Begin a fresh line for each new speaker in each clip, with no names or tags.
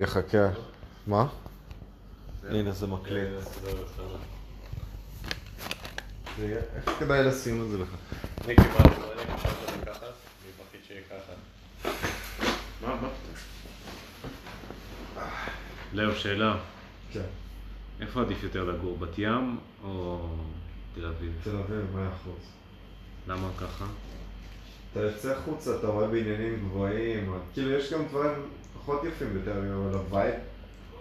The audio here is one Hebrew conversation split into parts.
יחכה. מה? הנה זה מקליט.
לא
זה- איך כדאי לשים את זה לך?
אני קיבלתי, אני קיבלתי את זה ככה, אני בכיתי שיהיה ככה.
מה, מה? לאו, שאלה,
כן.
איפה עדיף יותר לגור, בת ים או תל אביב?
תל אביב, מאה אחוז.
למה ככה?
אתה יוצא החוצה, אתה רואה בניינים גבוהים, כאילו יש גם דברים פחות יפים בתל אביב, אבל הבית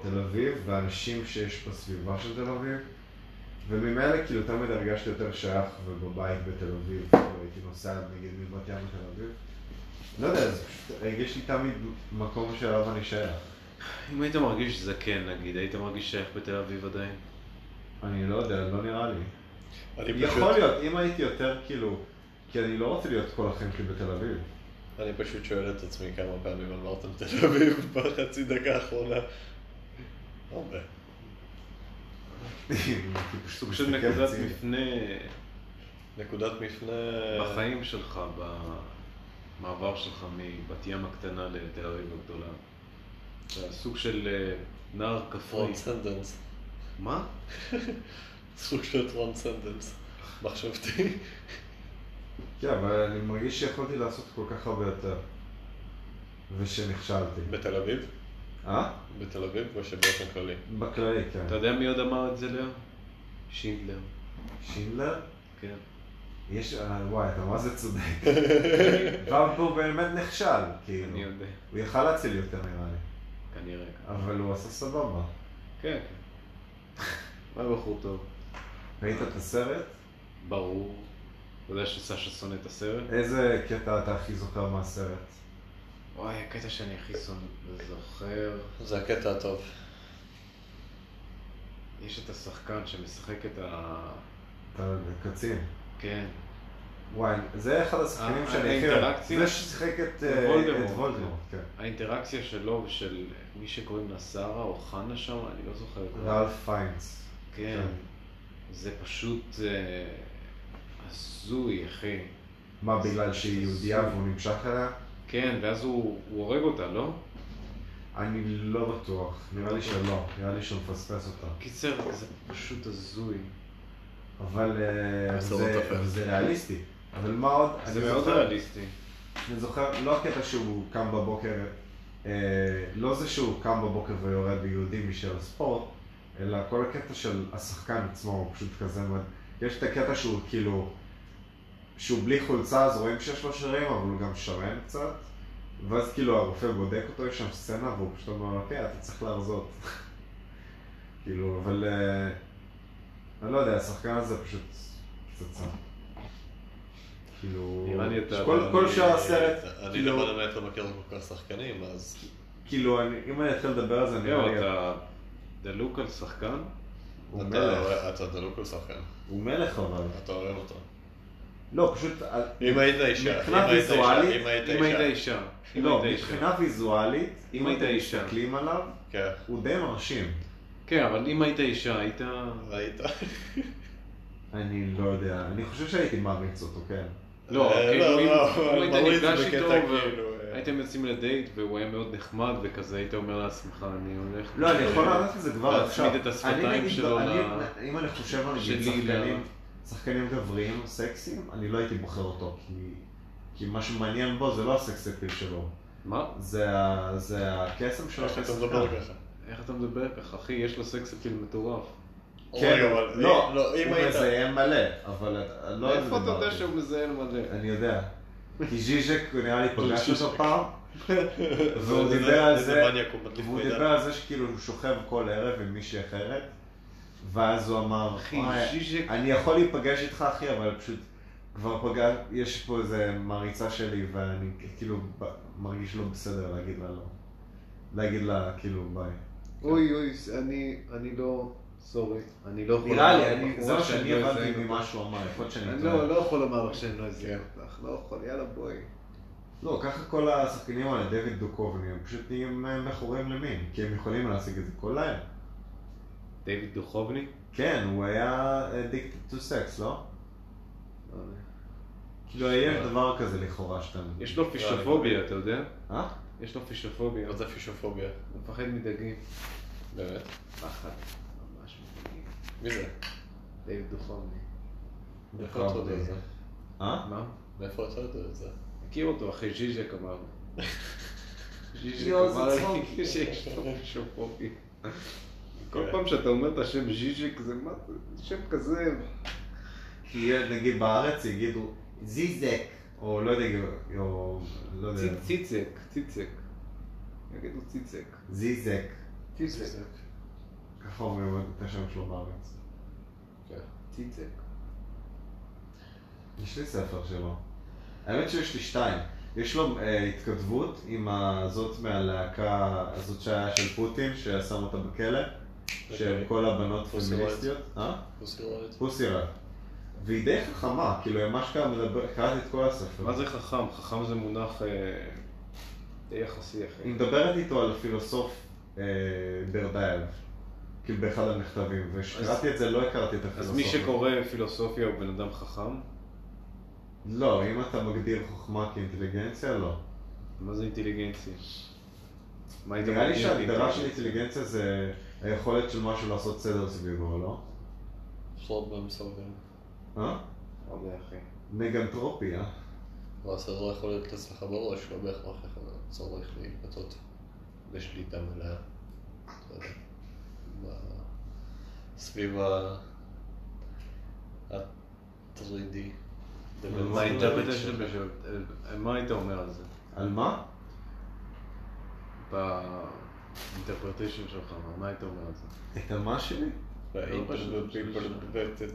תל אביב והאנשים שיש בסביבה של תל אביב, וממילא כאילו תמיד הרגשתי יותר שייך ובבית בתל אביב, כאילו הייתי נוסע נגיד מבת ים לתל אביב. לא יודע, זה פשוט הרגיש לי תמיד מקום שאליו אני שייך.
אם היית מרגיש זקן נגיד, היית מרגיש שייך בתל אביב עדיין?
אני לא יודע, לא נראה לי.
אני
יכול
פשוט,
להיות, אם הייתי יותר כאילו, כי אני לא רוצה להיות כל החיים שלי בתל אביב.
אני פשוט שואל את עצמי כמה פעמים אמרתם תל אביב בחצי דקה האחרונה. הרבה.
זה פשוט נקודת מפנה אה,
נקודת מפנה...
בחיים שלך, במעבר שלך מבת ים הקטנה לתל אביב הגדולה. זה סוג של אה, נער כפרי.
טרנסנדנס.
מה?
סוג של טרנסנדנס. מחשבתי.
כן, אבל אני מרגיש שיכולתי לעשות כל כך הרבה יותר. ושנכשלתי.
בתל אביב?
אה?
בתל אביב או שבאופן כללי?
בכללי, כן.
אתה יודע מי עוד אמר את זה, לאו? שינדלר.
שינדלר?
כן.
יש... אה, וואי, אתה מה זה צודק. ואמפו הוא באמת נכשל,
אני
כאילו.
יודע,
הוא יכל להציל יותר נראה לי.
כנראה.
אבל הוא עשה סבבה.
כן, כן. הוא היה בחור טוב.
ראית את הסרט?
ברור. אתה יודע שסשה שונא את הסרט?
איזה קטע אתה הכי זוכר מהסרט?
וואי, הקטע שאני הכי שונא- זוכר.
זה הקטע הטוב.
יש את השחקן שמשחק את ה...
אתה קצין.
כן.
וואי, זה אחד השחקנים
אה,
שאני הכי...
האינטראקציה?
זה ששיחק את אה,
וולדמורט.
את וולדמורט, כן.
האינטראקציה שלו ושל מי שקוראים לה שרה או חנה שם, אני לא זוכר. את זה.
רלף פיינס.
כן.
כן.
זה פשוט אה, הזוי, אחי.
מה, בגלל שהיא יהודייה והוא נמשך אליה?
כן, ואז הוא הוא הורג אותה, לא?
אני לא בטוח, נראה לי שלא, נראה לי שהוא מפספס אותה.
קיצר, זה פשוט הזוי.
אבל אה,
הסרט
זה-
תופס.
זה ריאליסטי. אבל מה עוד?
זה
אני
מאוד
זוכר-
ריאליסטי.
אני זוכר, לא הקטע שהוא קם בבוקר, אה, לא זה שהוא קם בבוקר ויורה ביהודים בשביל הספורט, אלא כל הקטע של השחקן עצמו הוא פשוט כזה, מד- יש את הקטע שהוא כאילו, שהוא בלי חולצה אז רואים שיש לו שרירים, אבל הוא גם שמן קצת, ואז כאילו הרופא בודק אותו, יש שם סצנה והוא פשוט אומר לו, כן, אתה צריך להרזות. כאילו, אבל אה, אני לא יודע, השחקן הזה פשוט פצצה. כאילו,
נראה לי אתה-
כל- כל שאר הסרט,
אני
כאילו-
למען האמת לא מכיר כל כך שחקנים, אז...
כאילו, אני, אם אני אתחיל לדבר על זה,
זהו,
נראה לי...
לא, אתה דלוק על שחקן?
הוא
אתה-
מלך.
אתה דלוק על שחקן.
הוא מלך אבל.
אתה אוהב אותו.
לא, פשוט... אה,
אם היית אישה,
מבחינה
אם היית אישה,
ויזואלית,
אם היית
אם היית
אישה,
אישה. אם
לא,
היית אישה.
מבחינה ויזואלית, אם
היית
אתם
אישה.
מסתכלים עליו,
כן,
הוא די מרשים.
כן, אבל אם היית אישה, היית...
ראית.
אני לא יודע, אני חושב שהייתי מעריץ אותו, כן.
לא,
אה,
כאילו,
לא,
אם-
לא,
אם היית
ברור לי זה
נפגש
בקטע
איתו,
כאילו, אה.
הייתם יוצאים לדייט והוא היה מאוד נחמד וכזה, היית אומר לעצמך, אני הולך...
לא, אני יכול לענות את זה כבר
אה, להצמיד
עכשיו.
את השפתיים
אני נגיד,
שלו
אני-
ל-
אם אני חושב על נגיד
שלי
שחקנים, שחקנים גבריים או סקסיים, אני לא הייתי בוחר אותו, כי... כי מה שמעניין בו זה לא הסקס אפיל שלו,
מה?
זה ה- זה הקסם
אה,
שלו.
איך אתה
כשחקן.
מדבר ככה?
איך אתה מדבר ככה? אחי, יש לו סקס אפיל מטורף.
אוי, אבל
לא,
לא, אם
הוא
היית...
מזהם מלא, אבל אה, לא על זה
איפה אתה יודע
דיברתי.
שהוא מזיין מלא?
אני יודע. כי ז'יז'ק נראה לי פגש אותו פעם, והוא
זה-
דיבר על
איזה
זה,
מניאק, הוא מדליף
והוא
מידע.
דיבר על זה שכאילו הוא שוכב כל ערב עם מישהי אחרת, ואז הוא אמר,
אחי,
"וואי,
ז'יז'ק...
אני יכול להיפגש איתך אחי, אבל פשוט כבר פגש, יש פה איזה מעריצה שלי, ואני כאילו ב- מרגיש לא בסדר להגיד לה לא. להגיד לה כאילו ביי.
אוי אוי, אני... אני לא... סורי. אני לא יכול...
נראה לי,
לומר
אני-
לבחורה
זה מה
שאני
שאני
לא
הבנתי
אזיין אותה.
ממה שהוא אמר, יכול להיות שאני
אני
טועה.
לא, לא יכול לומר לך שאני לא אזיין אותך, לא יכול, יאללה בואי.
לא, ככה כל השחקנים האלה, דויד דוקובני, הם פשוט נהיים אה, מכורים למין, כי הם יכולים להשיג את זה כל לילה.
דיוויד דוכובני?
כן, הוא היה addicted to sex, לא?
לא,
כאילו, יש דבר כזה לכאורה שאתה...
לא, יש לו פישופוביה, אתה יודע?
אה?
יש לו פישופוביה.
מה זה פישופוביה?
הוא מפחד מדגים.
באמת?
פחד. ממש מדגים.
מי זה?
דיוויד דוכובני.
נכון,
איפה אתה יודע את זה?
אה?
מה?
מאיפה אתה יודע את זה?
מכיר אותו אחרי ז'יז'ק אמר. ז'יז'ק
יואו, זה
אמר
צחוק.
לי שיש לו פישופוביה. כל
אוקיי.
פעם שאתה אומר את השם ז'יז'ק זה מה זה? שם כזה.
כי יהיה, נגיד בארץ יגידו זיזק, או לא יודע, או לא יודע,
צי- ציצק, ציצק. יגידו ציצק.
זיזק,
ציצק.
ככה אומרים את השם שלו בארץ.
ציצק.
יש לי ספר שלו. האמת שיש לי שתיים. יש לו אה, התכתבות עם הזאת מהלהקה הזאת שהיה של פוטין, ששם אותה בכלא, שכל הבנות
פוסי רייט.
פמיניסטיות. אה?
פוסקרולד?
פוסירה. והיא די חכמה, כאילו, היא ממש ככה מדברת, קראתי את כל הספר.
מה זה חכם? חכם זה מונח אה, די יחסי אחי.
היא מדברת איתו על הפילוסוף אה, ברדייב, כאילו באחד המכתבים, וכשקראתי את זה לא הכרתי את הפילוסוף.
אז מי שקורא פילוסופיה הוא בן אדם חכם?
לא, אם אתה מגדיר חוכמה כאינטליגנציה, לא.
מה זה אינטליגנציה? מה היית
נראה לי
מגדיר
שההגדרה של אינטליגנציה זה היכולת של משהו לעשות סדר סביבו, לא?
שלום במסורגן.
אה?
לא יודע, אחי.
מגנטרופיה.
ואז לא יכול להיות אצלך בראש, לא בהכרח איך אתה צורך להתבטאות בשליטה מלאה. אתה לא יודע, ב- סביב ה... ה-3D.
מה
מה
היית
האינטרפטיישן אה, מה היית אומר על זה?
על מה?
באינטרפרטיישן שלך, מה היית אומר על זה?
את המה שלי? לא
ה-interpretation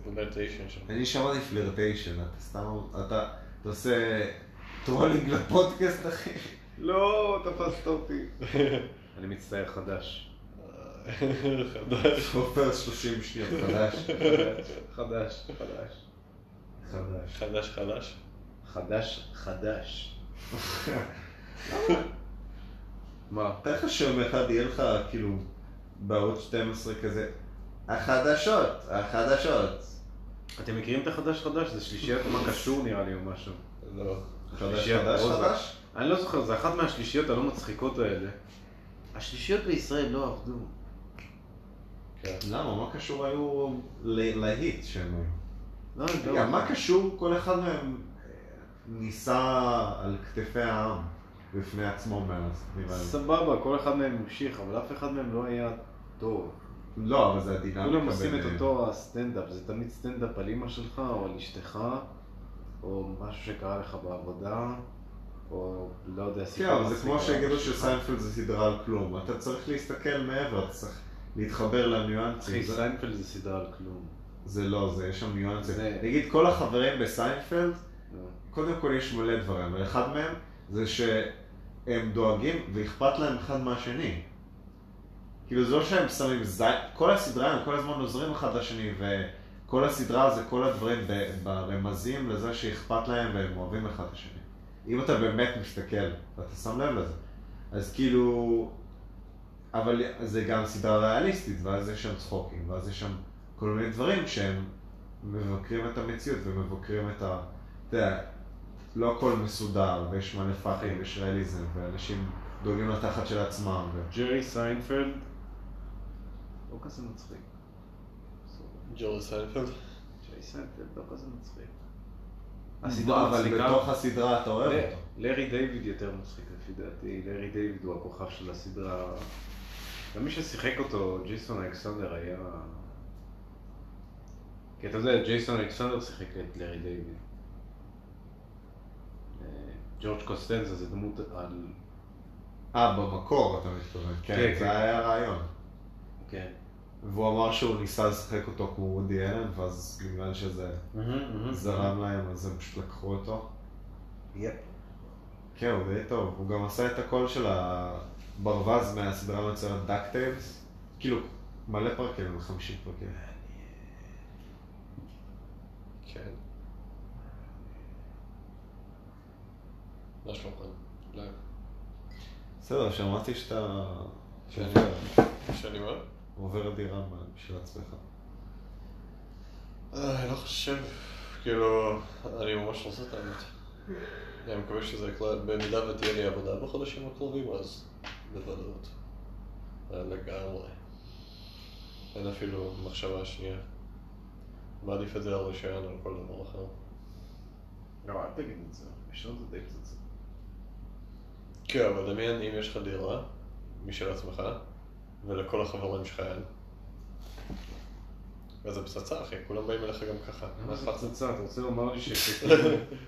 שלך.
אני שמעתי פלירטיישן, אתה סתם, אתה אתה עושה טרולינג לפודקאסט, אחי.
לא, תפסת אותי. אני מצטער חדש.
חדש.
עופר 30 שניות
כן.
חדש.
חדש, חדש.
חדש.
חדש חדש?
חדש, חדש. מה?
תאר לך שיום אחד יהיה לך, כאילו, בערוץ 12 כזה, החדשות, החדשות.
אתם מכירים את החדש חדש? זה שלישיית מה קשור נראה לי או משהו.
לא.
חדש
שלישיית
חדש
רוזק.
חדש?
אני לא זוכר, זה אחת מהשלישיות הלא מצחיקות האלה. השלישיות בישראל לא עבדו.
כן.
למה? מה קשור היו ל- להיט שהם היו?
לא, אני לא.
רגע, מה קשור כל אחד מהם אה, נישא על כתפי העם בפני עצמו מאז, נראה לי.
סבבה, כל אחד מהם המשיך, אבל אף אחד מהם לא היה טוב.
לא, אבל זה הדינמיקה
כולם עושים את
אה,
ביניהם.
אותו הסטנדאפ, זה תמיד סטנדאפ על אימא שלך, או על אשתך, או משהו שקרה לך בעבודה, או לא יודע,
כן,
סיפור
אבל זה
מצחיק
כמו
על
שיגידו
אבא שלך.
שסיינפלד זה סדרה על כלום. אתה צריך להסתכל מעבר, אתה צריך להתחבר לניואנסים.
אחי,
זה-
סיינפלד זה סדרה על כלום.
זה לא, זה, יש שם ניואנסים.
זה-
נגיד, כל החברים בסיינפלד,
נו.
קודם כל יש מלא דברים, אבל אחד מהם זה שהם דואגים ואכפת להם אחד מהשני. כאילו, זה לא שהם שמים זין, כל הסדרה, הם כל הזמן עוזרים אחד לשני, וכל הסדרה זה כל הדברים ב- ברמזים לזה שאכפת להם והם אוהבים אחד את השני. אם אתה באמת מסתכל, ואתה שם לב לזה. אז כאילו... אבל זה גם סדרה ריאליסטית, ואז יש שם צחוקים, ואז יש שם כל מיני דברים שהם מבקרים את המציאות ומבקרים את ה... אתה יודע, לא הכל מסודר, ויש מלא פאחים, ויש ריאליזם, ואנשים דואגים לתחת של עצמם. ו...
ג'רי סיינפלד, לא כזה מצחיק.
ג'ורי סיינפלד?
ג'רי סיינפלד לא כזה מצחיק. הסדרה
אבל
מצחיקה.
בתוך הסדרה אתה אוהב
ל-
אותו.
לארי דיוויד יותר מצחיק לפי דעתי, לארי דיוויד הוא הכוכב של הסדרה. גם מי ששיחק אותו, ג'ייסון אלכסנדר היה... כי אתה יודע, ג'ייסון אלכסנדר שיחק את לארי דיוויד. אה, ג'ורג' קוסטנזה זה דמות על...
אה, במקור אתה מתכוון. כן,
כן, כן.
זה היה הרעיון.
כן.
והוא אמר שהוא ניסה לשחק אותו כמו וודי אלן, ואז בגלל שזה זרם להם, אז הם פשוט לקחו אותו.
יפ.
כן, הוא די טוב. הוא גם עשה את הקול של הברווז מהסדרה המצוינת דאקטיילס. כאילו, מלא פרקים, 50 פרקים.
כן. מה שלומך? לא.
בסדר, שמעתי שאתה...
שאני- שאני מה?
עובר דירה בשביל עצמך.
אה, אני לא חושב, כאילו, אני ממש רוצה את האמת.
אני מקווה שזה יקרה, במידה ותהיה לי עבודה בחודשים הקרובים, אז בוודאות. אה, לגמרי. אין אפילו מחשבה שנייה. מעדיף את זה על רישיון על כל דבר אחר.
לא, אל תגיד את זה, יש לנו את זה די פצצה.
כן, אבל דמיין אם יש לך דירה משל עצמך, ולכל החברים שלך אין. וזה פצצה, אחי, כולם באים אליך גם ככה. מה
מה זה
אכפת לך?
פצצה? אתה רוצה לומר לי ש- שכאילו-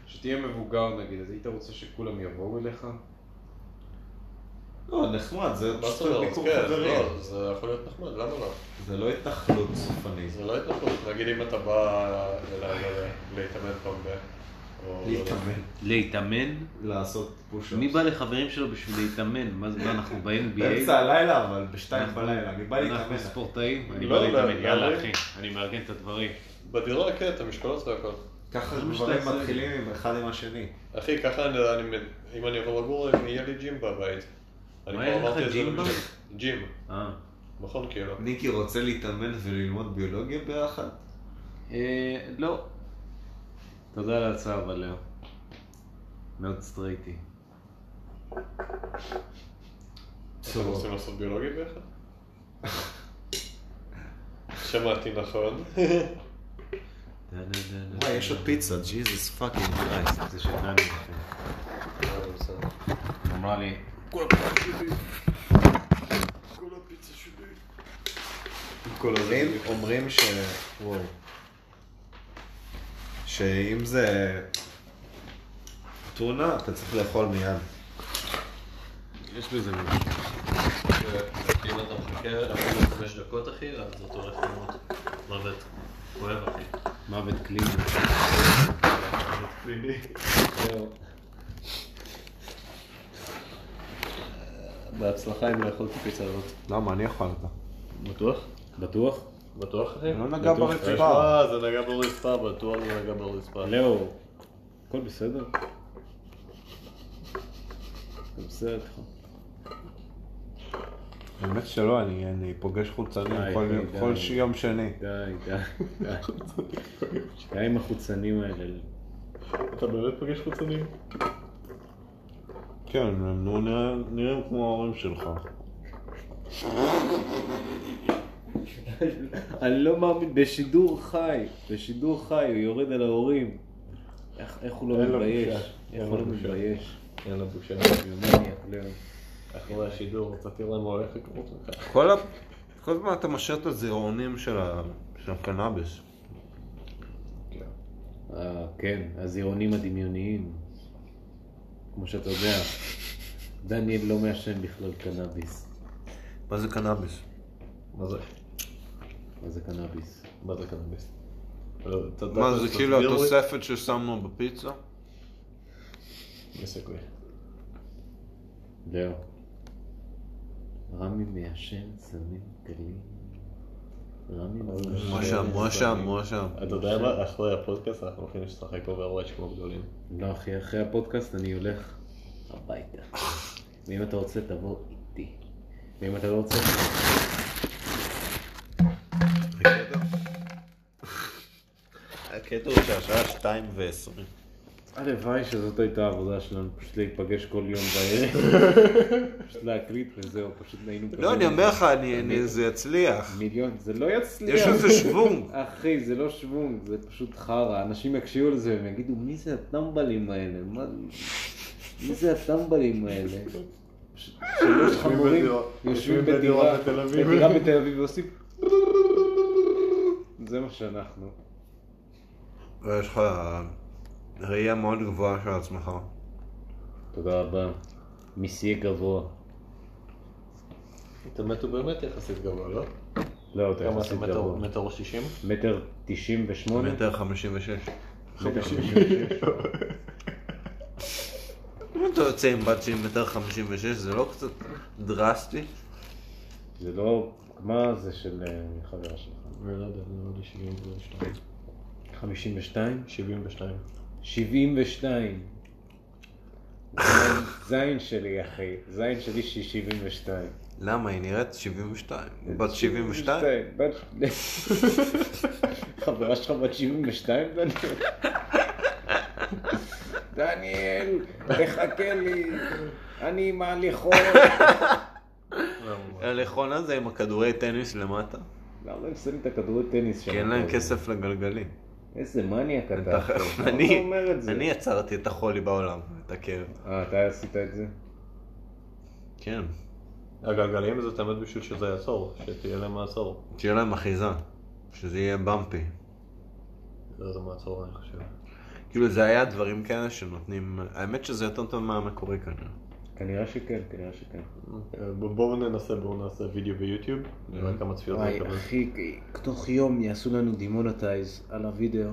שתהיה מבוגר נגיד, אז היית רוצה שכולם יבואו אליך?
לא, נחמד, זה
מה
פשוט
זאת אומרת?
ביקור
כן,
חברים.
לא, זה יכול להיות נחמד, למה לא?
זה לא התנחלות סופנית.
זה לא התנפלות, נגיד אם אתה בא אליי, לא יודע, להתאמן פעם ב... או-
להתאמן.
להתאמן?
לעשות פוש-אפ.
מי בא לחברים שלו בשביל להתאמן? מה זה, מה, אנחנו ב-NBA?
באמצע הלילה, אבל בשתיים
אנחנו-
בלילה, אני בא
אנחנו
להתאמן.
ספורטאים? אני
לא,
בא
לא,
להתאמן,
לא,
יאללה
לא.
אחי, אני מארגן את הדברים.
בדירה, כן, את המשקולות והכל.
ככה
זה מה
גברים
שאתה עושה.
מתחילים עם אחד עם השני.
אחי, ככה אני, אני, אם אני אעבור לגור, יהיה לי ג'ים בבית. אני
מה,
כבר
יש לך
אמרתי את זה
ג'ים
למישהו.
בבית?
ג'ים,
אה.
מכון כאילו.
ניקי רוצה להתאמן וללמוד ביולוגיה ביחד?
אה, לא. תודה על ההצעה, אבל לא. מאוד סטרייטי.
אתם רוצים לעשות ביולוגיה ביחד? שמעתי נכון.
וואי, יש עוד פיצה, ג'יזוס פאקינג קרייסט.
זה שדני אחי.
אה,
היא אמרה לי,
כל
אומרים, אומרים ש... וואו. שאם זה טונה, אתה צריך לאכול מיד.
יש בזה משהו.
אם אתה מחכה אפילו חמש דקות אחי, אז אתה הולך למות מוות כואב אחי.
מוות קליני.
בהצלחה אם לאכול את הפיצה הזאת.
למה, אני אוכל אותה.
בטוח?
בטוח?
בטוח אחי?
לא נגע
בטוח
ברצפה.
יש מה, זה נגע ברצפה, בטוח זה נגע ברצפה.
לאו, הכל בסדר? זה בסדר איתך.
האמת שלא, אני אני פוגש חולצנים
די,
כל-
די,
כל
די.
ש- יום שני.
די, די, די. די עם החוצנים האלה.
אתה באמת פוגש חוצנים?
כן, הם נו- נראה- נראים כמו ההורים שלך.
אני לא מאמין, בשידור חי, בשידור חי, הוא יורד על ההורים. איך איך הוא
אין
לא
לו
מתבייש?
בושה.
איך
אין
הוא
לו
לא
בושה.
מתבייש?
אין לה בושה.
יומניאק, לאו.
אחרי השידור רציתי למה הולך לקרות לך.
כל ה- כל הזמן אתה משאיר את הזירעונים של ה- של הקנאביס.
אה, כן, הזירונים הדמיוניים. כמו שאתה יודע, דניאל לא מעשן בכלל קנאביס.
מה זה קנאביס?
מה זה?
מה זה קנאביס?
מה זה קנאביס? לא, אתה-
מה
אתה-
זה
תסביר
כאילו
לי.
התוספת ששמנו בפיצה?
יש סיכוי.
לא. רמי מעשן סמים קלים. רמי מעשן.
מה
מואשם, מואשם, מואשם.
אתה יודע מה? אחרי הפודקאסט אנחנו הולכים לשחק אוברוואץ' כמו גדולים.
לא אחי, אחרי הפודקאסט אני הולך הביתה. ואם אתה רוצה, תבוא איתי. ואם אתה לא
אה,
רוצה...
הקטע הוא שהשעה שתיים ועשרים.
הלוואי שזאת הייתה העבודה שלנו, פשוט להיפגש כל יום בערב. פשוט להקליט וזהו, פשוט היינו...
לא, אני אומר לך, אני- אני- זה יצליח.
מיליון, זה לא יצליח.
יש איזה שוונג.
אחי, זה לא שוונג, זה פשוט חרא. אנשים יקשיבו לזה והם יגידו, מי זה הטמבלים האלה? מה... מי זה הטמבלים האלה? ש- שלוש חמורים
בדירה-
יושבים
יושבים בדירה
בדירה
בתל אביב.
בדירה בתל אביב ועושים... זה מה שאנחנו.
יש לך ראייה מאוד גבוהה של עצמך.
תודה רבה. מיסיה גבוה.
אתה מת הוא באמת יחסית גבוה, לא?
לא, אתה
כמה
יחסית
אתה מטר-
גבוה.
מטר שישים?
מטר תשעים ושמונה?
מטר חמישים ושש.
מטר חמישים ושש.
אם אתה יוצא עם בת שהיא מטר חמישים ושש, זה לא קצת דרסטי?
זה לא... מה זה של אה, חברה שלך?
אני לא יודע, נראה לי שבעים ושתיים.
52?
שבעים ושתיים.
72. זין שלי, אחי. זין שלי שהיא 72.
למה? היא נראית 72. בת 72?
בת- חברה שלך בת 72? דניאל? דניאל, תחכה לי, אני עם ההליכון.
הליכון הזה עם הכדורי טניס למטה,
כן, למה הם שמים את הכדורי טניס שם?
כי אין להם כסף לגלגלים.
איזה מניאק אתה.
אתה-
למה אתה לא
אני-
אומר את זה?
אני יצרתי את החולי בעולם, את הכאב.
אה, אתה עשית את זה?
כן,
הגלגלים זה תמיד בשביל שזה יעצור, שתהיה להם מעצור.
תהיה להם אחיזה, שזה יהיה במפי.
לא, זה מעצור אני חושב.
כאילו זה היה דברים כאלה שנותנים, האמת שזה יותר טוב מהמקורי כנראה.
כנראה שכן, כנראה שכן.
אה, ב- בואו ננסה, בואו נעשה וידאו ביוטיוב,
Mm-hmm.
נראה כמה צפיות
וואי,
נקבל.
אחי, תוך יום יעשו לנו דימונטייז על הוידאו.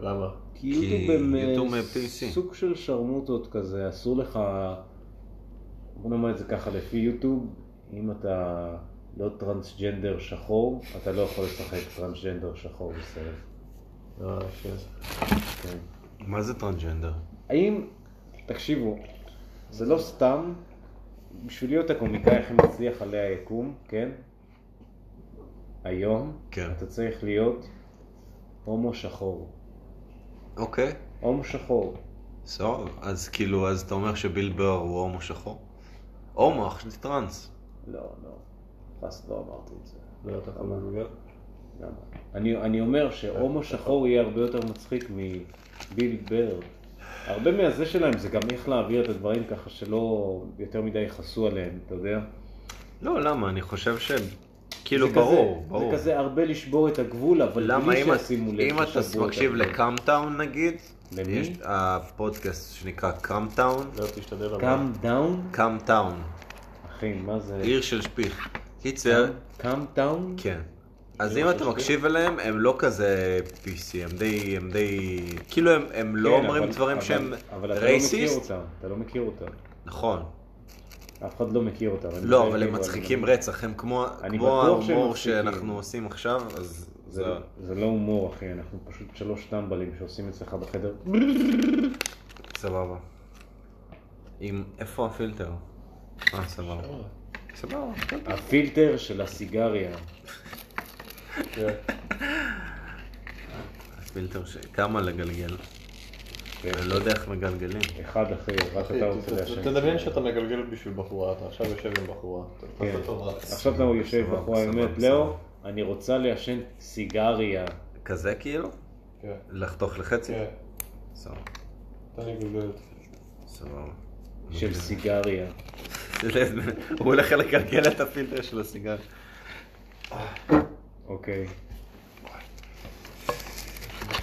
למה?
כי יוטיוב הם
יוטיוב
אה,
הם PC.
סוג של שרמוטות כזה, אסור לך... בוא נאמר את זה ככה, לפי יוטיוב, אם אתה לא טרנסג'נדר שחור, אתה לא יכול לשחק טרנסג'נדר שחור בסרט.
אה, שיט.
כן.
מה זה טרנג'נדר?
האם, תקשיבו, זה לא סתם, בשביל להיות הקומיקאי הכי מצליח עלי היקום, כן? היום,
כן.
אתה צריך להיות הומו שחור.
אוקיי,
הומו שחור.
סבבה. אז כאילו, אז אתה אומר שביל בר הוא הומו שחור? הומו, אח שלי טראנס.
לא, לא. חס לא אמרתי את זה.
לא, אתה יכול לגלגל?
למה? אני, אני אומר שהומו שחור יהיה הרבה יותר מצחיק מביל בר. הרבה מהזה שלהם זה גם איך להעביר את הדברים ככה שלא יותר מדי יכעסו עליהם, אתה יודע?
לא, למה? אני חושב ש... כאילו,
זה כזה-
ברור, ברור.
זה כזה הרבה לשבור את הגבול, אבל
למה
בלי
אם,
שישימו לב.
אם אתה
ששברו את
מקשיב
הגבול.
לקאמטאון נגיד,
למי?
יש הפודקאסט שנקרא קאמטאון,
לא, תשתדל. אבל-
קאם דאון?
קאמטאון,
אחי, מה זה?
עיר של שפיך. קיצר,
קאם דאון?
כן.
לא
אז אם אתה מקשיב אליהם, הם לא כזה PC, הם די, הם די, כאילו הם, הם לא
כן,
אומרים
אבל-
דברים
אבל-
שהם
אבל אתה לא מכיר
רייסיסט,
אותם, אתה לא מכיר אותם.
נכון,
אף אחד לא מכיר אותם. אני
לא,
חייב
אבל הם
כאילו, אני-
מצחיקים רצח, הם כמו
אני
כמו
בטוח שהם
ההומור
מצחיקים.
שאנחנו עושים עכשיו, אז
זה,
זה,
זה לא הומור, אחי, אנחנו פשוט שלוש טמבלים שעושים אצלך בחדר.
סבבה. עם, איפה הפילטר? אה, סבבה.
אה,
סבבה, כן.
הפילטר של הסיגריה.
כן.
הפילטר ש... כמה לגלגל?
כן.
אני לא יודע איך מגלגלים.
אחד אחי, רק אתה רוצה לעשן.
כן, תדמיין שאתה מגלגל בשביל בחורה, אתה עכשיו יושב עם בחורה. תעשה טובה.
כן. עכשיו אתה יושב
סבבה,
בחורה
סבבה,
אומרת,
סבבה.
לאו, אני רוצה לעשן סיגריה.
כזה כאילו?
כן,
לחתוך לחצי?
כן.
סבבה,
תן לי גלגל.
סבבה.
של סיגריה.
הוא הולך לגלגל את הפילטר של הסיגר.
אוקיי.
כן,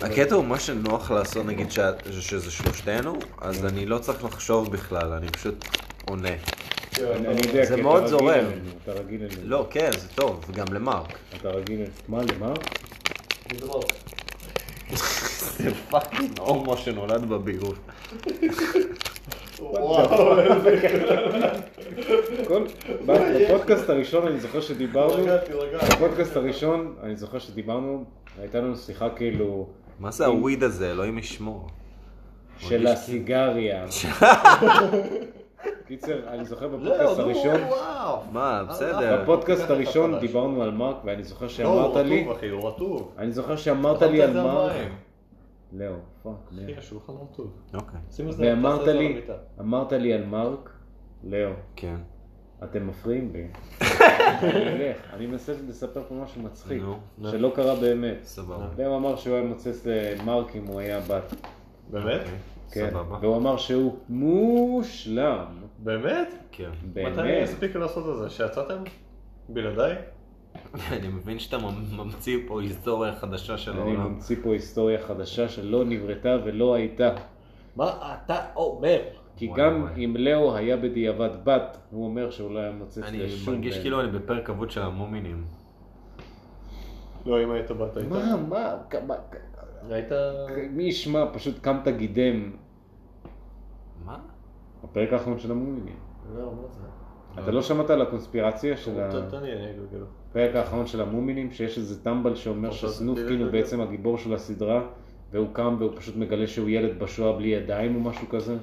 הקטע הוא מה שנוח לעשות, נגיד שה- שזה שלושתנו, אז אני לא צריך לחשוב בכלל, אני פשוט עונה.
אני אני יודע,
זה
כי
מאוד
אתה רגיל
זורם.
אלינו, אתה רגיל אלינו.
לא, כן, זה טוב, גם למרק.
אתה רגיל אלינו. מה, למה?
זה פאקינג
לא
הומו שנולד בביוב.
וואו,
כל- בפודקאסט הראשון אני זוכר שדיברנו,
תירגע, תירגע.
בפודקאסט הראשון אני זוכר שדיברנו, הייתה לנו שיחה כאילו...
מה זה הוויד הזה, אלוהים ישמור.
של הסיגריה. קיצר, אני זוכר בפודקאסט הראשון,
וואו.
מה, בסדר.
בפודקאסט
לא, הפודקאסט
הראשון
החדש.
דיברנו על מרק, ואני זוכר
לא, הוא
שאמרת לי,
רטוב, אחי, הוא רטוב.
אני זוכר שאמרת לי על
זה
מרק,
המים.
לאו, פאק,
אחי,
לאו.
השולחן רטוב.
אוקיי,
שים את זה-
כן. ואמרת
תעשה את זה על
לי,
המיטה.
אמרת לי על מרק, לאו,
כן.
אתם מפריעים לי. אני אלך, אני מנסה לספר פה משהו מצחיק,
נו, נו.
שלא קרה באמת.
סבבה.
לאו אמר שהוא היה מוצץ למרק אם הוא היה בת,
באמת?
אוקיי,
כן,
סבבה.
והוא אמר שהוא מושלם,
באמת?
כן.
באמת.
מתי אני אספיק לעשות את זה? שיצאתם? בלעדיי?
אני מבין שאתה ממ- ממציא פה היסטוריה חדשה של
אני
העולם.
ממציא פה היסטוריה חדשה שלא נבראתה ולא הייתה.
מה אתה אומר?
כי
וואי,
גם
וואי.
אם לאו היה בדיעבד בת, הוא אומר שהוא לא היה מוצץ
אני
לשום...
מרגיש
בן.
כאילו אני בפרק אבוד של המומינים.
לא, אם היית באת איתה.
מה, כן. מה, כמה...
היית...
מי ישמע, פשוט קמת גידם.
מה?
הפרק האחרון של המומינים.
לא, מה זה?
אה.
אתה לא שמעת על הקונספירציה של
תן- תן לי, אני אגלגל.
הפרק האחרון של המומינים, שיש איזה טמבל שאומר
אתה-
שסנופקין הוא בעצם הגיבור של הסדרה, והוא קם והוא פשוט מגלה שהוא ילד בשואה בלי ידיים או משהו כזה?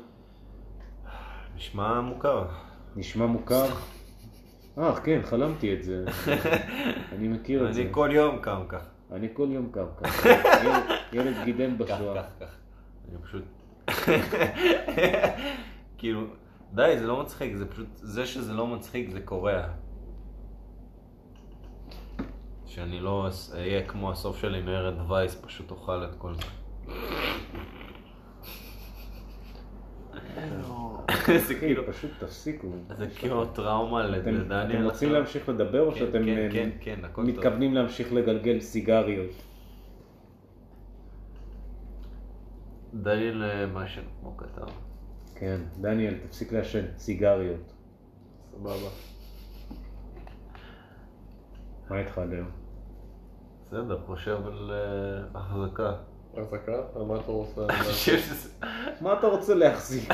נשמע מוכר.
נשמע מוכר? אה, כן, חלמתי את זה. אני
כן,
מכיר את זה.
אני כל יום קם ככה.
אני כל יום קם ככה. ילד- ילד גידם בשואה.
אני פשוט
כאילו, די, זה לא מצחיק, זה פשוט, זה שזה לא מצחיק זה קורע. שאני לא אס- אהיה כמו הסוף של אינהרד וייס, פשוט אוכל את כל זה. זה
אחי,
כאילו,
פשוט תפסיקו.
זה כאילו טראומה
אתם
לדניאל.
אתם רוצים להמשיך לדבר או
כן,
שאתם
כן,
אה,
כן, כן, הכל טוב.
מתכוונים להמשיך לגלגל סיגריות?
דניאל אה, מה שכמו כתב.
כן, דניאל, תפסיק לעשן סיגריות.
סבבה.
מה איתך ליאו?
בסדר, חושב על אה, החזקה.
החזקה? על מה אתה רוצה?
אני חושב שזה...
מה אתה רוצה להחזיק?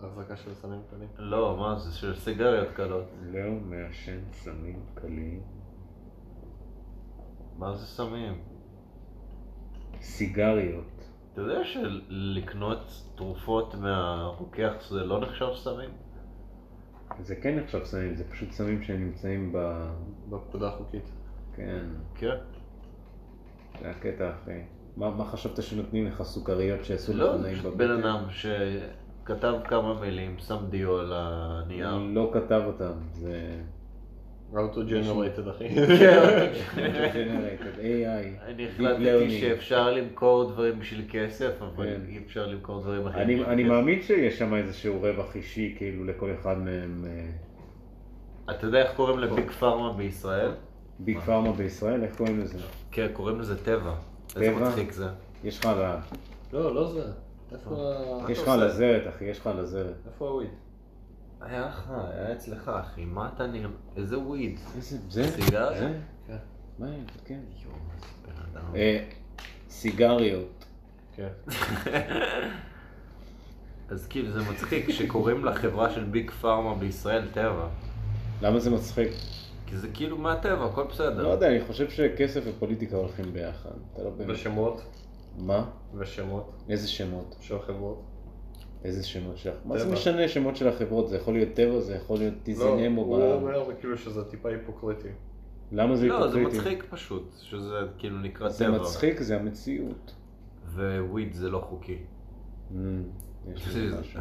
החזקה של סמים קלים?
לא, מה זה של סיגריות קלות.
ליאו מעשן סמים קלים.
מה זה סמים?
סיגריות.
אתה יודע שלקנות תרופות מהרוקח זה לא נחשב סמים?
זה כן נחשב סמים, זה פשוט סמים שנמצאים ב...
בפקודה החוקית.
כן,
כן.
זה הקטע אחי. מה, מה חשבת שנותנים לך סוכריות שיעשו לך
לא, זה
נעים
פשוט
בבטן?
בן אדם שכתב כמה מילים, שם דיו על הנייר.
לא כתב אותם, זה... כן,
Auto generated אחי.
Generated AI.
אני
Deep
החלטתי
learning.
שאפשר למכור דברים בשביל כסף, אבל
כן.
אי אפשר למכור דברים אחרים.
אני,
בשביל
אני
כסף.
מאמין שיש שם איזשהו רווח אישי, כאילו לכל אחד מהם אה,
אתה יודע איך קוראים לביג פארמה בישראל?
ביג פארמה בישראל, איך קוראים לזה?
כן, קוראים לזה טבע. איזה
טבע?
מצחיק זה.
יש לך על ה...
לא, לא זה. איפה
אה,
ה-
יש לך על הזרת, אחי, יש לך על הזרת.
איפה הוויד?
היה לך, היה אצלך אחי, מה אתה נראה? איזה וויד.
איזה... זה?
סיגר?
זה?
כן.
מה, זה כן.
יואו, איזה בן אדם.
אה, סיגריות.
כן.
אז כאילו זה מצחיק שקוראים לחברה של ביג פארמה בישראל טבע.
למה זה מצחיק?
כי זה כאילו מהטבע, הכל
לא
בסדר.
יודע, אני חושב שכסף ופוליטיקה הולכים ביחד. אתה לא באמת...
ושמות?
מה?
ושמות
איזה שמות?
של חברות.
איזה שמות שלך? מה זה
טבע.
משנה שמות של החברות? זה יכול להיות טבע, זה יכול להיות
לא,
טיזנמו.
הוא אומר כאילו שזה טיפה היפוקריטי.
למה זה
לא, זה
היפוקריטי?
מצחיק פשוט, שזה כאילו נקרא
זה
טבע.
מצחיק, זה המציאות.
ווויד זה לא חוקי.
אמ, יש לי
זה-
משהו.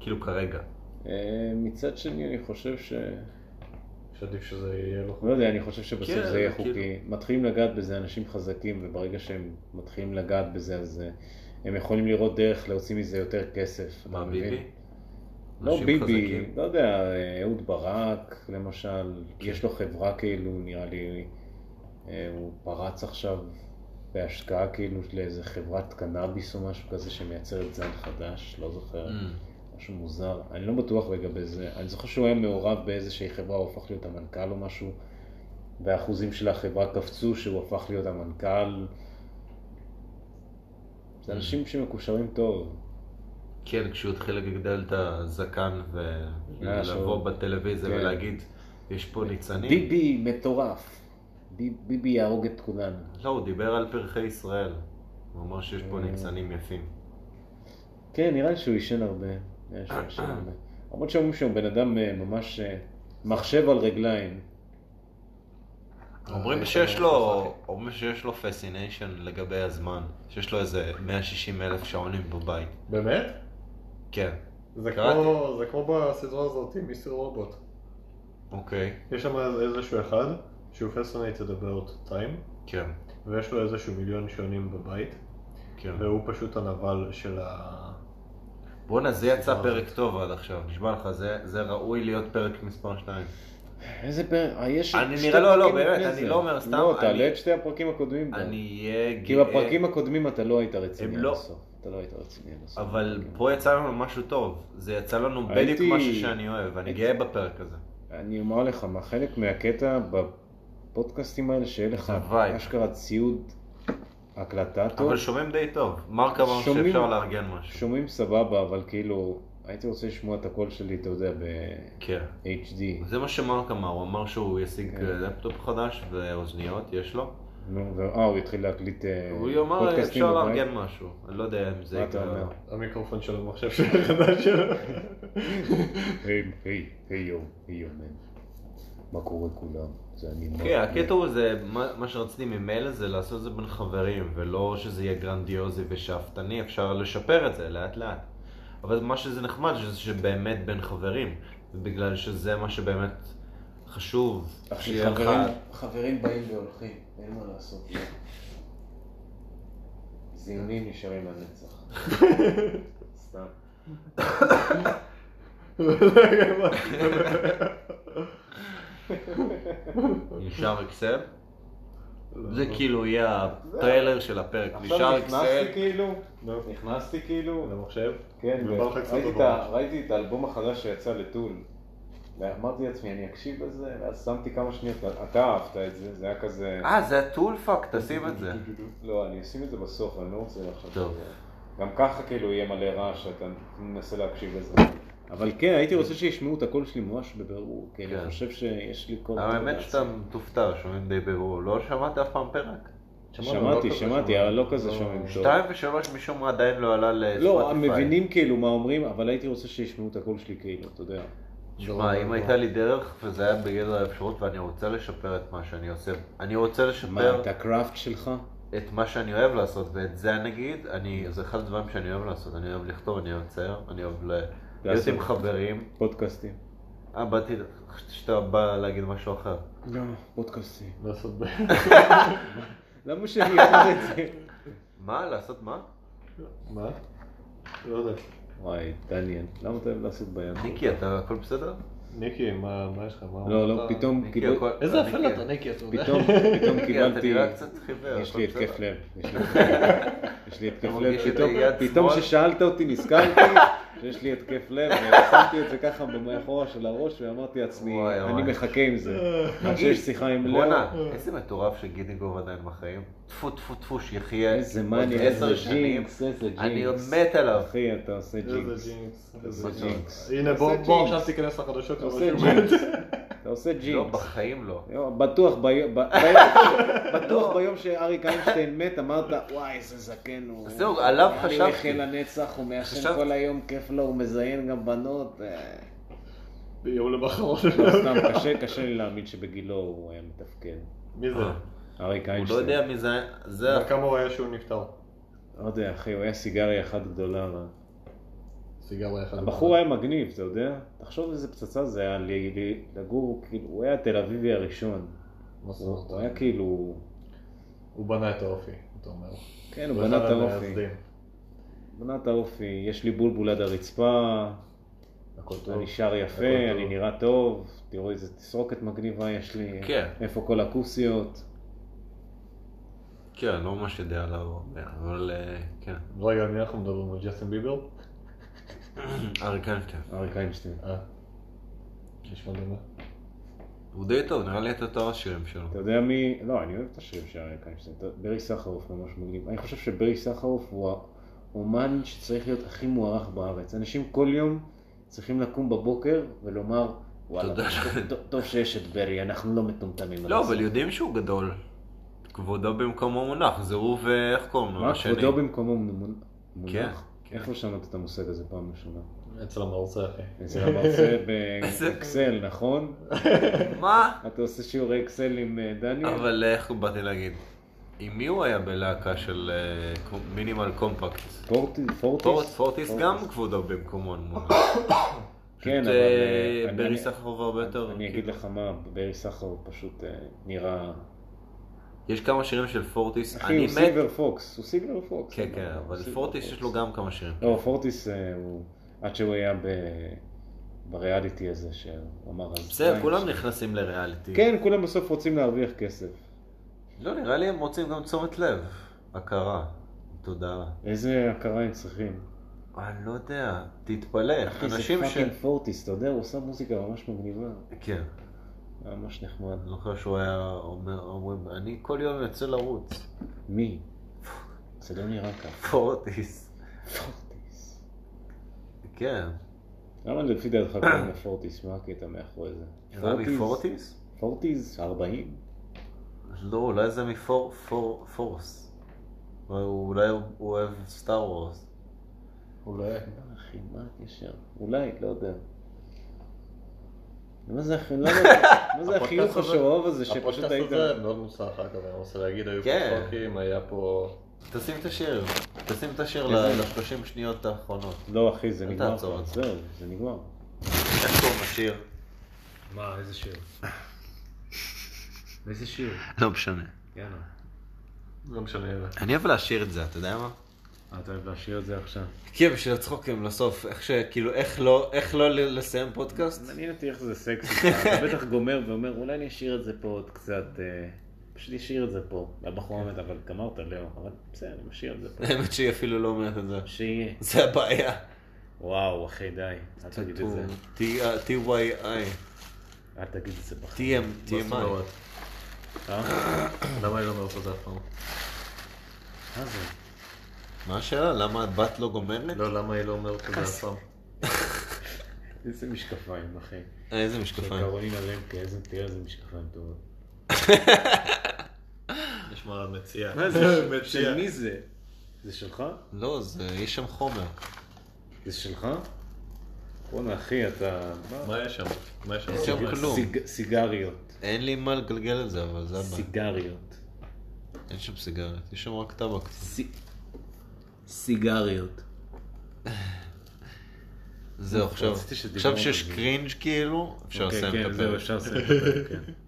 כאילו כרגע.
אה, מצד שני, אני חושב ש...
שעדיף שזה יהיה לא
לא יודע, אני חושב שבסוף
כן,
זה יהיה
כאילו-
חוקי. מתחילים לגעת בזה אנשים חזקים, וברגע שהם מתחילים לגעת בזה, אז אה, הם יכולים לראות דרך להוציא מזה יותר כסף.
מה,
אתה מבין?
ביבי?
לא
אנשים
ביבי,
חזקים. כן.
לא יודע, אהוד ברק למשל, יש לו חברה כאילו, נראה לי, אה, הוא פרץ עכשיו בהשקעה כאילו לאיזה חברת קנאביס או משהו כזה שמייצרת זן חדש, לא זוכר,
אמ,
משהו מוזר, אני לא בטוח לגבי זה, אני זוכר שהוא היה מעורב באיזושהי חברה, הוא הפך להיות המנכ"ל או משהו, והאחוזים של החברה קפצו שהוא הפך להיות המנכ"ל.
Mm.
זה אנשים שמקושרים טוב.
כן, כשהוא התחיל לגדל את הזקן ולבוא
אה, שהוא-
בטלוויזיה
כן.
ולהגיד, יש פה ניצנים.
ביבי מטורף. ביב- ביבי יהרוג את כולנו.
לא, הוא דיבר על פרחי ישראל. הוא אמר שיש פה ניצנים יפים.
כן, נראה לי שהוא עישן הרבה. נראה לי שהוא עישן הרבה. למרות שאומרים שהוא בן אדם אה, ממש אה, מחשב על רגליים.
אומרים שיש לו, אומרים שיש לו פסיניישן לגבי הזמן, שיש לו איזה 160 אלף שעונים בבית.
באמת?
כן,
זה
קראתי.
כמו, זה כמו בסדרה הזאת, מיסטר רובוט.
אוקיי,
יש שם איזשהו אחד שהוא fascinated about time,
כן,
ויש לו איזשהו מיליון שעונים בבית,
כן.
והוא פשוט הנבל של ה...
בואנה, זה יצא פרק טוב עד עכשיו, נשבע לך, זה, זה ראוי להיות פרק מספר 2.
איזה פרק, אה, יש
אני
שתי
נראה- לא, לא,
פרקים
באמת,
לפני
אני
זה.
לא אומר סתם,
לא,
אני-
תעלה את שתי הפרקים הקודמים. גם.
אני אהיה
כאילו
גאה,
הפרקים הקודמים אתה לא היית רציני
הם
עד
לא-
הסוף. אתה לא היית רציני עד הסוף.
אבל
כן.
פה יצא לנו משהו טוב, זה יצא לנו
הייתי-
בדיוק משהו שאני אוהב, אני
הייתי-
גאה בפרק הזה.
כן. אני אומר לך, מה חלק מהקטע בפודקאסטים האלה, שיהיה לך
זה וייב.
אשכרה ציוד הקלטה טוב.
אבל שומעים די טוב, מרק אמר
שומעים-
שאפשר לארגן משהו.
שומעים סבבה, אבל כאילו, הייתי רוצה לשמוע את הקול שלי, אתה יודע,
כן.
ב-HD.
זה מה שמרק אמר, הוא אמר שהוא ישיג אה,
כן.
לפטופ חדש ואוזניות, יש לו.
נו, ו- אה, הוא התחיל להקליט אה,
הוא יאמר,
פודקאסטים
אפשר
בבית?
לארגן משהו. אני לא יודע אם זה
מה אתה
יקרה.
אומר?
המיקרופון של המחשב של החדש שלו.
אה.
היי, היי, היי יו, היי יו, מן. מה קורה כולם. זה אני מאוד-
כן, הקטע הוא זה, מה מה שרציתי ממילא זה לעשות את זה בין חברים, ולא שזה יהיה גרנדיוזי ושאפתני, אפשר לשפר את זה לאט לאט. אבל מה שזה נחמד, שזה שבאמת בין חברים, בגלל שזה מה שבאמת חשוב,
עכשיו,
שיהיה לך...
חברים- חברים באים והולכים, אין מה לעשות. זיונים נשארים לנצח. סתם.
נשאר אקסל? זה כאילו יהיה הטריילר של הפרק, נשאר
עכשיו
אקסל.
נכנסתי כאילו,
לא.
נכנסתי כאילו,
למחשב?
כן,
ובא לך קצת
ראיתי את
בראש.
ה- ראיתי את האלבום החדש שיצא לטול. ואמרתי לעצמי, אני אקשיב לזה, ואז שמתי כמה שניות, אתה אהבת את זה, זה היה כזה...
אה, זה הטול פאק, תשים את זה.
לא, אני אשים את זה בסוף, אני לא רוצה עכשיו...
טוב.
גם ככה כאילו יהיה מלא רעש, אתה מנסה להקשיב לזה.
אבל כן, הייתי רוצה שישמעו את הקול שלי ממש בבירור, כי אני
כן.
חושב שיש לי קול...
האמת שאתה תופתע, שומעים די ברור. לא שמעת אף פעם פרק?
שמעתי, שמעתי, אבל לא כזה שומעים טוב.
שתיים ושלוש משום מה עדיין לא עלה לספוטיפיי.
לא, הם מבינים כאילו מה אומרים, אבל הייתי רוצה שישמעו את הקול שלי כאילו, אתה יודע.
תשמע, אם הייתה לי דרך וזה היה בגדר האפשרות ואני רוצה לשפר את מה שאני עושה, אני רוצה
מה,
לשפר
את הקראפט שלך?
את מה שאני אוהב לעשות, ואת זה נגיד, אני, זה אחד הדברים שאני אוהב לעשות, אני אוהב לכתוב, אני אוהב לצייר, אני אוהב ל- להיות עם חברים.
פודקאסטים.
אה, באתי, חשבתי שאתה בא להגיד משהו אחר.
לא, פודקאסטים.
לעשות ב...
למה שאני אוהב את זה?
מה? לעשות מה?
מה? לא יודע.
וואי, דניאל, למה אתה אוהב לעשות ביד?
ניקי, אתה הכל בסדר?
ניקי, מה מה יש לך? מה
לא, לא,
אמרת?
פתאום
ניקי,
קיבל-
הכל- אה,
איזה
ניקי,
אפל אתה, ניקי, אתה יודע?
פתאום פתאום
ניקי, אתה
קיבלתי...
נראה קצת חיוור.
יש
הכל
לי התקף
כן, בסדר.
לב, יש לי התקף לב. יש לי התקף
אתה מרגיש
לב,
את
פתאום-
היד
פתאום
שמאל?
כששאלת אותי נזכרתי שיש לי התקף לב, ושמתי את זה ככה מאחורה של הראש ואמרתי לעצמי,
וואי,
אני
וואי.
מחכה עם זה. אני חושב
תגיד,
שיש שיחה עם לאו.
בואנה, אה. איזה מטורף שגידינגוב עדיין בחיים. טפו טפו טפו, שיחיה
איזה
עוד
מאני, איזה
עשר שנים.
ג'ינקס, איזה ג'ינקס.
אני מת עליו.
אחי, אתה עושה ג'ינקס.
איזה ג'ינקס.
איזה
איזה
ג'ינקס.
ג'ינקס. הנה, בוא
איזה
בוא
ג'ינקס.
עכשיו תיכנס לחדשות.
אתה
למה
עושה
שהוא מת.
ג'ינקס. אתה עושה
לא,
ג'ינקס.
בחיים לא.
יום, בטוח ביום, ב- בטוח ביום שאריק איינשטיין מת, אמרת, וואי, איזה זקן הוא.
זהו, עליו
אני
חשבתי.
הולך אל הנצח, הוא מעשן
חשבתי.
כל היום, כיף לו, הוא מזיין גם בנות. אה.
ביום למחרת.
לא, סתם, קשה, קשה לי להאמין שבגילו הוא היה מתפקד.
מי זה?
אריק
הוא לא
איינשטיין.
יודע מי זה, זה...
כמה הוא היה שהוא נפטר?
לא יודע, אחי, הוא היה סיגריה אחת גדולה. מה.
סיגריה אחת.
הבחור היה מגניב, אתה יודע? תחשוב איזה פצצה זה היה לי- לי- לגור, כאילו, הוא היה התל אביבי הראשון.
מה זאת
הוא
אומרת?
הוא היה כאילו...
הוא בנה את האופי, אתה אומר.
כן, הוא
הוא
בנה
אחד
את האופי.
המייסדים.
בנה את האופי, יש לי בולבול עד הרצפה,
הכל טוב.
אני שר
הכל
יפה,
טוב.
אני נראה טוב, תראו איזה תסרוקת מגניבה יש לי,
כן.
איפה כל הכוסיות.
כן, לא ממש יודע עליו הרבה, אבל אה, כן.
רגע, על מי אנחנו מדברים? על ג'סטין ביבר?
אריק איינשטיין.
אריק איינשטיין,
אה. נשמע דומה.
הוא די טוב, נראה לי את יותר השירים שלו.
אתה יודע מי, לא, אני אוהב את השירים של אריק איינשטיין, אתה- ברי סחרוף ממש מגניב, אני חושב שברי סחרוף הוא האומן שצריך להיות הכי מוערך בארץ. אנשים כל יום צריכים לקום בבוקר ולומר, וואלה,
תודה.
טוב- טוב שיש את ברי, אנחנו לא מטומטמים.
לא, אבל יודעים שהוא גדול. כבודו במקומו מונח, זה הוא ואיך קוראים לו?
מה,
השני.
כבודו במקומו מונ- מונח?
כן.
איפה שמעת את המושג הזה פעם ראשונה?
אצל המרצה, אחי.
אצל המרצה
איזה-
באקסל, נכון?
מה?
אתה עושה שיעורי אקסל עם אה, דניאל?
אבל איך באתי להגיד? עם מי הוא היה בלהקה של אה, מינימל קומפקט?
פורטי- פורטיס?
פורט- פורטיס גם כבודו במקומו מונח.
כן,
פשוט,
אבל...
אה,
אה, אני-
ברי
אני-
סחרוב הרבה יותר. כאילו.
אני אגיד לך מה, ברי סחרוף פשוט אה, נראה...
יש כמה שירים של פורטיס,
אחי,
אני
הוא
מת...
סילבר פוקס, הוא סילבר פוקס.
כן, כן,
אה, הוא
אבל
סילבר
פורטיס
פוקס.
יש לו גם כמה שירים.
לא, פורטיס אה, הוא... עד שהוא היה ב... בריאליטי הזה, שהוא אמר... אז-
בסדר, כולם נכנסים לריאליטי.
כן, כולם בסוף רוצים להרוויח כסף.
לא, נראה לי הם רוצים גם תשומת לב. הכרה. תודה.
איזה הכרה הם צריכים?
אני לא יודע, תתפלא.
אחי, זה
אנשים ש...
פאקינג פורטיס, אתה יודע, הוא עושה מוזיקה ממש מגניבה.
כן.
היה ממש נחמד.
אני זוכר שהוא היה אומר, אומרים, אני כל יום יוצא לרוץ.
מי? זה לא נראה ככה.
פורטיס.
פורטיס.
כן.
למה לפי דעתך קוראים לפורטיס? מה הקטע מאחורי זה?
נראה לי פורטיס?
פורטיס? 40?
לא, אולי זה מפור... פור... פורס. אולי הוא אולי הוא אוהב סטאר וורס.
אולי.
אחי, מה הקשר? אולי, לא יודע. מה זה החיוך- לא יודע, מה זה
הפודקאסט
החיוך
הזה-
השואוב הזה שפשוט
הפודקאסט
היית...
הזה מאוד מוצלח אגב, אני רוצה להגיד, היו פה
כן.
חוקים, היה פה...
תשים את השיר, תשים את השיר
איזה?
ל-30 שניות האחרונות.
לא אחי, זה
אל
נגמר.
תעצור
כבר.
את זה.
זהו, זה נגמר.
איך קוראים לשיר?
מה, איזה שיר? איזה שיר?
לא משנה.
יאללה.
לא משנה.
אני אוהב להשאיר את זה, אתה יודע מה?
אה, אתה אוהב להשאיר את זה עכשיו.
כן, בשביל הצחוקים לסוף, איך ש... כאילו, איך לא, איך לא ל- לסיים פודקאסט?
מעניין אותי איך זה סקסי. אתה בטח גומר ואומר, אולי אני אשאיר את זה פה עוד קצת. אה, פשוט אשאיר את זה פה. לבחור האמת, אבל גמרת, לאו. אבל בסדר, אני משאיר את זה פה.
האמת שהיא אפילו לא אומרת את זה.
שיהיה.
זה הבעיה.
וואו, אחי, די. אל תגיד את זה.
T-Y-I.
אל תגיד את זה בחיים.
TM,
מה זאת
TMI.
אומרת?
אה?
למה אני לא אומרת את זה אף פעם?
מה זה?
מה השאלה? למה הבת לא גומרת?
לא, למה היא לא אומרת את זה אף פעם?
איזה משקפיים, אחי.
אה, איזה משקפיים.
קרולינה למקה, איזה תראה איזה משקפיים טובות.
נשמע מציע.
של מי זה? זה שלך?
לא, זה, יש שם חומר.
זה שלך? בואנה אחי, אתה...
מה יש שם? מה יש שם?
יש שם כלום.
סיג- סיגריות.
אין לי מה לגלגל את זה, אבל זה הבעיה.
סיגריות.
אין שם סיגריות, יש שם רק טבק.
סי- סיגריות.
זהו, עכשיו,
רציתי שדיברו
עכשיו
על
שיש
זה.
קרינג' כאילו, אפשר
אוקיי,
לסיים את
כן, זהו,
הפרק.
אפשר לסיים את הפרק, כן.